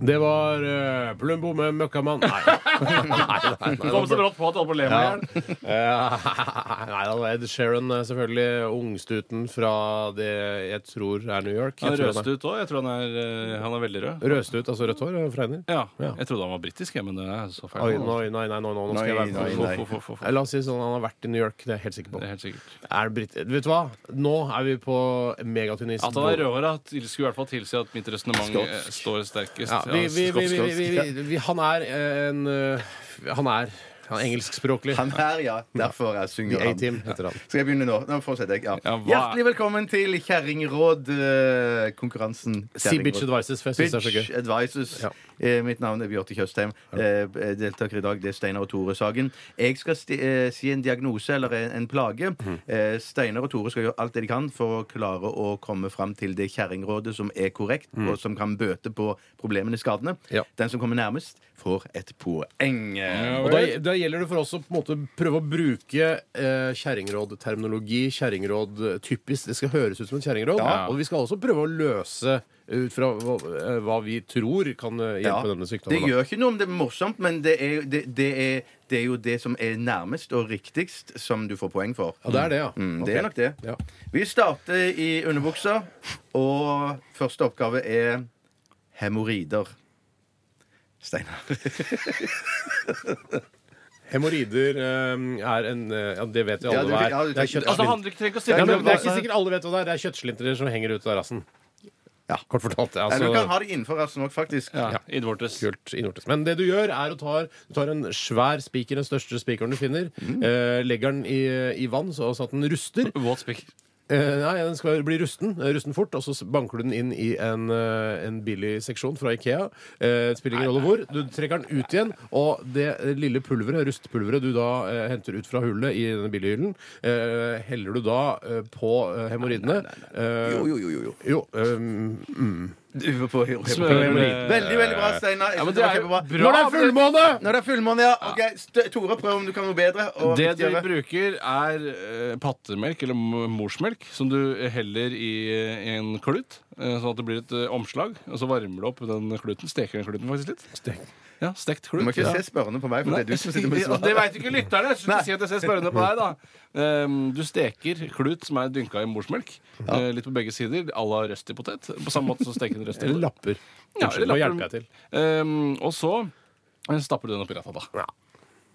Det var eh, Plumbo med Møkkamann. Nei. nei, nei, nei, Du kom så brått på at alle ble Ja. med. igjen. Eh, Nei, det var Ed Sheeran, eh, selvfølgelig. Ungstuten fra det jeg tror er New York. Han Jeg er tror han røst ut òg. Jeg tror han er, eh, han er veldig rød. er- Røstut, altså rødt hår? eh, Fregner? Ja, Ja. Jeg trodde han var britisk, jeg, men det er så feil. Oi, nei, nei, nei, nå- nå skal jeg Nei, være nei, Få, få, få, få, få. Eh, La oss si sånn, han har vært i New York, det er jeg helt sikker Det er på. helt sikkert. Er Brit Vet du hva? Nå er vi på megatynn is. At han er rødhåra, skulle i hvert fall tilsi at mitt resonnement eh, står sterkest. Ja, vi, vi, vi, vi, skotsk. vi, vi, vi, vi, han er eh, en eh, Han er, han er engelskspråklig. Han her, ja. Derfor jeg synger The han. A-Team heter han. Skal jeg begynne nå? Nå fortsetter jeg. Ja. Ja, hva- Hjertelig velkommen til Kjerringråd-konkurransen. Si bitch advices, for jeg synes det er så gøy. Bitch Advices. Ja. Eh, mitt navn er Bjarte Tjøstheim. Eh, deltaker i dag det er Steinar og Tore Sagen. Jeg skal sti eh, si en diagnose eller en, en plage. Mhm. Eh, Steinar og Tore skal gjøre alt det de kan for å klare å komme fram til det kjerringrådet som er korrekt, og som kan bøte på problemene, skadene. Mhm. Ja. Den som kommer nærmest, får et poeng. Ja. Og da, da gjelder det for oss å på en måte prøve å bruke eh, kjerringrådterminologi. Kjerringråd eh, typisk. Det skal høres ut som en kjerringråd. Ja. Og vi skal også prøve å løse ut fra hva, eh, hva vi tror kan eh, hjelpe denne Det sykdommen. da. gjør ikke noe om det er morsomt, men det er, det, det, er, det er jo det som er nærmest og riktigst, som du får poeng for. Ja, det er det, ja. Mm, Ok. Det er nok det. Ja. Vi starter i underbuksa, og første oppgave er hemoroider. Steinar. Hemoroider eh, er en eh, Ja, det vet vi Ja, alle du- hva ja, er. Det er du- Altså, det kjøttslint. handler ikke trenger ikke å Ja, stille men det er ikke spørsmål. sikkert alle vet hva det er. Det er kjøttslintrer som henger ut av rassen. Ja. Kort fortalt. ja, Nei, Altså, du kan ha det innenfor rassen òg, faktisk. Ja, Innvortes. kult innvortes. Men det du gjør, er å tar, du tar en svær spiker, den største spikeren du finner, eh, legger den i, i vann så, så at den ruster. Våt spiker. Eh, nei, den skal bli rusten, eh, rusten fort, og så s- banker du den inn i en, eh, en billig seksjon fra Ikea. Eh, det spiller ingen rolle hvor. Du trekker den ut igjen, og det eh, lille pulveret, rustpulveret du da eh, henter ut fra hullet i denne billighyllen, eh, heller du da eh, på eh, hemoroidene. Eh, Jo, jo, jo, jo, jo. jo, ehm, mm. Du var på Smør med- Veldig, veldig bra, Steinar. Jeg Ja, men det synes det er var jo kjempebra. bra. Når det er fullmåne! Når det er fullmåne, ja. Ok, St- Tore, prøv om du kan noe bedre. og Det du viktigere. bruker, er eh, pattemelk eller m- morsmelk, som du heller i eh, en klut, eh, sånn at det blir et eh, omslag. Og så varmer du opp den kluten. Steker den kluten faktisk litt? Ja, stekt Du klut. må ikke ja. se spørrende på meg, for Nei, det er du som sitter med ja, Det svaret. veit ikke lytterne. Jeg skulle si at jeg ser spørrende på deg, da. Ehm, Du steker klut som er dynka i morsmelk, eh, litt på begge sider, à la røstig potet. På samme måte som steker en røstig Eller potet. lapper. Ja, Unnskyld, eller nå lapper. hjelper jeg til. Ehm, Og så eh, stapper du den oppi retta, da.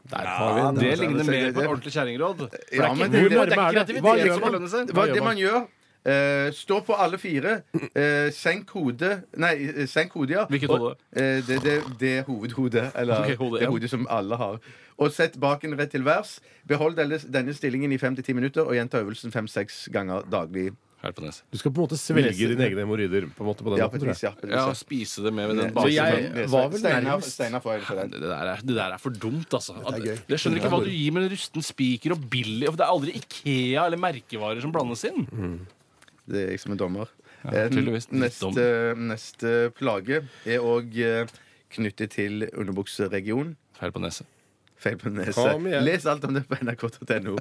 Der har vi den. Det ligner det- mer på det- et ordentlig kjerringråd. For det Ja, er men ikke det- humor, det nærme er er det? kreativitet Hva gjør som man? belønner seg. Hva Hva gjør det man? man gjør eh, Stå på alle fire. eh, senk hodet Nei, eh, senk hodet, ja. Hvilket Og, hode? eh, det, det, det er hovedhodet. Eller Ok, hodet, det ja. hodet som alle har. Og sett baken rett til værs. Behold denne, denne stillingen i fem til ti minutter og gjenta øvelsen fem-seks ganger daglig. Her på neset. Du skal på en måte svelge dine egne hemoroider på en måte på den Ja, måten, på et tror vis, jeg. ja. på et vis, Ja, ja. spise det med ved den Så basen. jeg- Nei, Ned- var vel Steinar- nærmest- Steinar får en for den. Det der, er, det der er for dumt, altså. At, er gøy. jeg skjønner ikke hva du gir med en rusten spiker og billig for Det er aldri Ikea eller merkevarer som blandes inn. Det er jeg som er dommer. Eh, tydeligvis. neste, neste plage er òg knyttet til underbukseregion. Feil på neset. Feil på neset. Kom igjen. Les alt om det på nrk.no.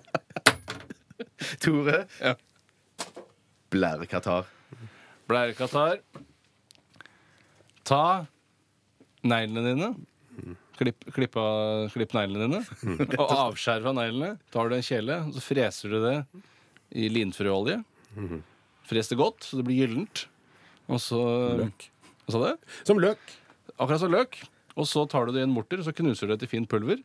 Tore. Ja. Blærekatar. Blærekatar. Ta neglene dine. Klipp, klipp, av, klipp neglene dine. Og avskjær fra neglene. Tar du en kjele, så freser du det i linfrøolje. Fres det godt, så det blir gyllent. Og så Løk. Hva sa du? Som løk. Akkurat som løk. Og så tar du det i en morter, og så knuser du det til fint pulver.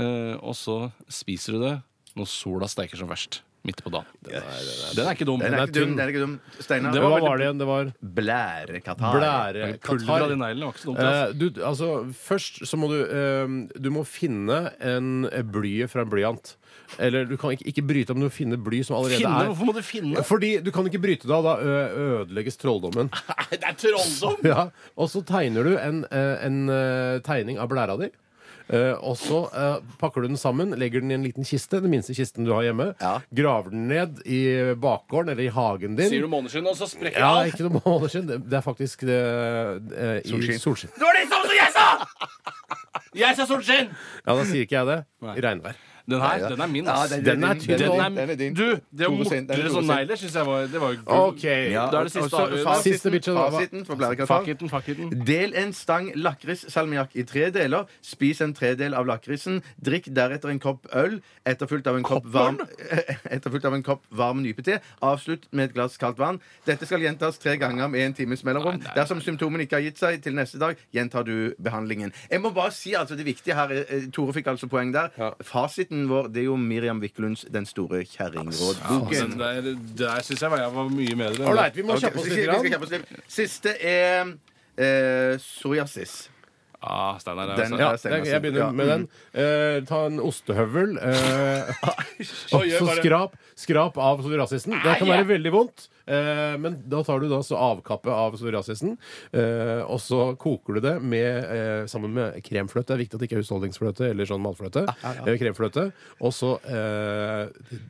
Eh, og så spiser du det når sola steiker som verst. Midt på dagen. Den er ikke dum. Den Den er er ikke dum. tynn. Den er ikke dum. Steinar. Det Hva var var det igjen? Det var Blærekatar. Pulver av blærekatarr. de neglene var ikke så dumt. altså. Eh, du, altså, først så må du eh, Du må finne en blyet fra en blyant. Eller du kan ikke, ikke bryte, men du må finne bly som allerede Finne? er Hvorfor må du finne? Fordi du kan ikke bryte det av. Da ø- ødelegges trolldommen. Nei, det er trolldom! Ja. Og så tegner du en, eh, en eh, tegning av blæra di. Eh, og så eh, pakker du den sammen, legger den i en liten kiste, den minste kisten du har hjemme. Ja. Graver den ned i bakgården eller i hagen din. Sier du måneskinn, og så sprekker ja, alt. ikke noe måneder siden. Det- Det er faktisk det, eh, i Solskinn. solskinn. liksom Det var det samme som jeg sa! Jeg sa solskinn! Ja, da sier ikke jeg det. Nei. I regnvær. Den her, den er min, ass. den- Den er tynn, Den og- er- Du, det å mortere sånn negler syns jeg var Det var jo OK. Ja, Da er det siste og så avgjørende. fasiten- Siste bitchen, hva- Fasiten for blærekatarr. Fuck it, fuck it. Del en stang lakrissalmiakk i tre deler. Spis en tredel av lakrisen. Drikk deretter en kopp øl, etterfulgt av en kopp varm, etterfulgt av en kopp varm nypete. Avslutt med et glass kaldt vann. Dette skal gjentas tre ganger med en times mellomrom. Nei, nei. Dersom symptomene ikke har gitt seg til neste dag, gjentar du behandlingen. Jeg må bare si altså det viktige her eh, Tore fikk altså poeng der. Fasiten vår det er jo Miriam Wiklunds Den store Den kjerringrådboken. der, der syns jeg var, jeg var mye bedre. All right, vi må Ok, kjappe vi oss skal- litt. vi skal Grann. kjappe oss litt. Siste er eh, psoriasis. Ah, Steinar er Den- altså- Ja, Jeg ser meg det- jeg selv. begynner med Ja, den. Eh, ta en ostehøvel. Eh, og gjør så bare- skrap, skrap av psoriasisen. Det kan være veldig vondt, eh, men da tar du da så avkappet av psoriasisen. Eh, og så koker du det med, eh, sammen med kremfløte. Det er viktig at det ikke er husholdningsfløte eller sånn matfløte. Eh, kremfløte. Og så eh,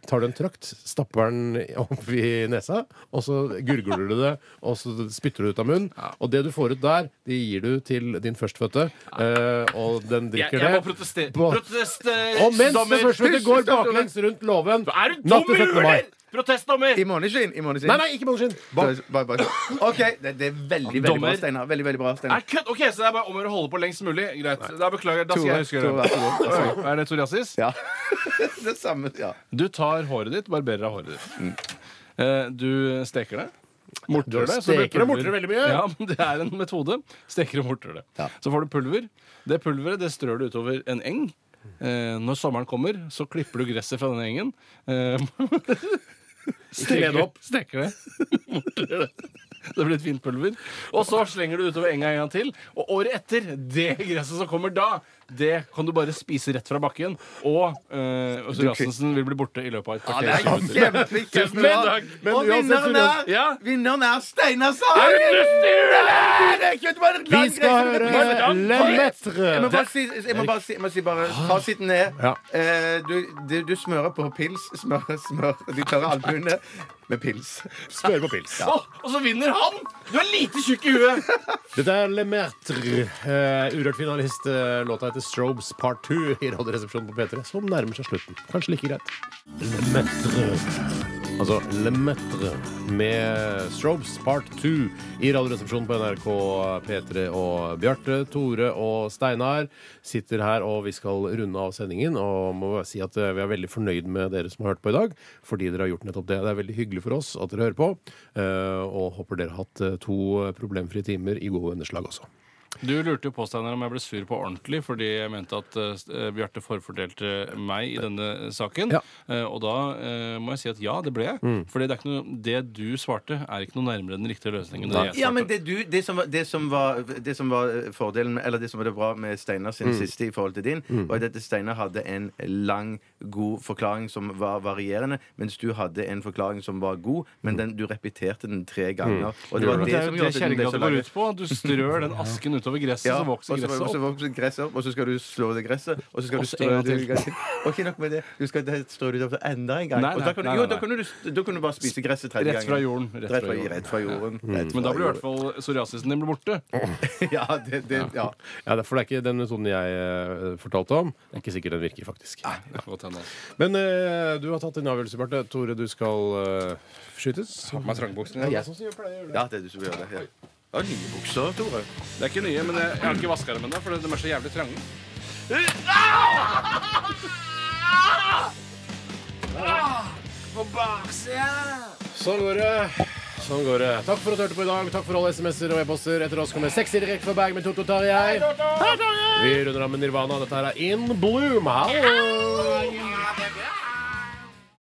tar du en trakt, stapper den opp i nesa, og så gurgler du det, og så spytter du ut av munnen. Og det du får ut der, det gir du til din førstfødte, eh, og den Jeg, drikker det. jeg må protestere. På- Protestere, og mens dommer. det første går Hysj, baklengs rundt låven Er du natt dum til i 17. mai. hulen?! Protestdommer! I måneskinn. I måneskinn. Nei, nei, ikke bolleskinn. Bare, bare, bare. OK. Det, det er veldig, veldig bra, Dommer. Steinar. Veldig, veldig bra, Er Steinar. kødd! Ok, Så det er bare om å gjøre å holde på lengst mulig. Greit. Da beklager. Da skal jeg huske Tore, det. vær så god. Oi, Er det psoriasis? Ja. Det samme. Ja. Du tar håret ditt, barberer av håret ditt. Eh, Du steker det. Morter det. så det blir steker og pulver. morter det veldig mye. Ja, men Det er en metode. Steker og morter det. Så får du pulver. Det pulveret det strør du utover en eng. Eh, Når sommeren kommer, så klipper du gresset fra den engen. Eh, Kle det opp. Steker det. Morter det. Det blir et fint pulver. Og så slenger du det utover enga en gang til. Og året etter, det gresset som kommer da, det kan du bare spise rett fra bakken. Og eh, psoriasisen vil bli borte i løpet av et Det er kvarter. kjempe, kjempebra. takk. Men Og uansett, vinneren Tore- er, Ja. vinneren er Steinar Sagen! Vi skal høre Le Jeg må Lettre. bare si, jeg må bare si, jeg må si bare, fasiten er Ah. Ja. eh, du, du, du smører på pils. Smører, smører De tørre albuene med pils. Smør på pils. Å, og så vinner han! Du er lite tjukk i huet! Dette er Le Metre. Eh, urørt finalist. Eh, låta heter Strobes Part 2 i Radioresepsjonen på P3, som nærmer seg slutten. Kanskje like greit. Le Metre. Altså Le Metre med Strobes Part 2 i Radioresepsjonen på NRK P3. Og Bjarte, Tore og Steinar sitter her, og vi skal runde av sendingen. Og må bare si at eh, vi er veldig fornøyd med dere som har hørt på i dag, fordi dere har gjort nettopp det. Det er veldig hyggelig for oss at dere hører på, eh, og håper dere har hatt eh, to problemfrie timer i gode venners lag også. Du lurte jo på Steinar, om jeg ble sur på ordentlig fordi jeg mente at eh, Bjarte forfordelte meg i denne saken. Ja. Eh, og da eh, må jeg si at ja, det ble jeg. Fordi det, er ikke noe, det du svarte, er ikke noe nærmere den riktige løsningen. enn Det jeg svarte. Ja, men det, du, det, som var, det, som var, det som var eh, fordelen med- Eller det som var det bra med Mm. Steinar sin siste i forhold til din, var at dette Steinar hadde en lang, god forklaring som var varierende, mens du hadde en forklaring som var god, men den, du repeterte den tre ganger. Og det var Men Mm. det det er som jo det gjorde at den ble kjerringa så det går lang. ut på. Du strør den asken utover gresset, Ja, så og vokser så gresset opp. vokser gresset opp, og så skal du slå det gresset, og så skal Og du så en strø gang det til. gresset. Og ikke nok med det, du skal det- strø det utover enda en gang. Nei, Og nei, da kan du- nei, Jo, nei, da nei. kan du, da kan du bare spise gresset tredje Rett fra gangen. jorden. Rett fra jorden. Mm. Rett fra jorden. Rett Men da fra blir i hvert jorden. fall psoriasisen din blir borte. Ja, det, det, ja. Ja, derfor det er ikke den metoden jeg eh, fortalte om. Det er ikke sikkert den virker, faktisk. Det kan godt hende, altså. Men eh, du har tatt din avgjørelse, Bjarte. Tore, du skal eh, skytes. Ja, det er du som gjør det. Ja. Ja, nye bukser, Tore. Det er ikke nye, men jeg, jeg har ikke vaska dem ennå, for de er så jævlig trange. Sånn går det. Sånn går det. Takk for at du hørte på i dag. Takk for alle SMS-er og e-poster. Etter oss kommer sexy direkte fra Berg med Toto Tarjei. Vi runder av med Nirvana. Dette her er In Bloom. Hallo!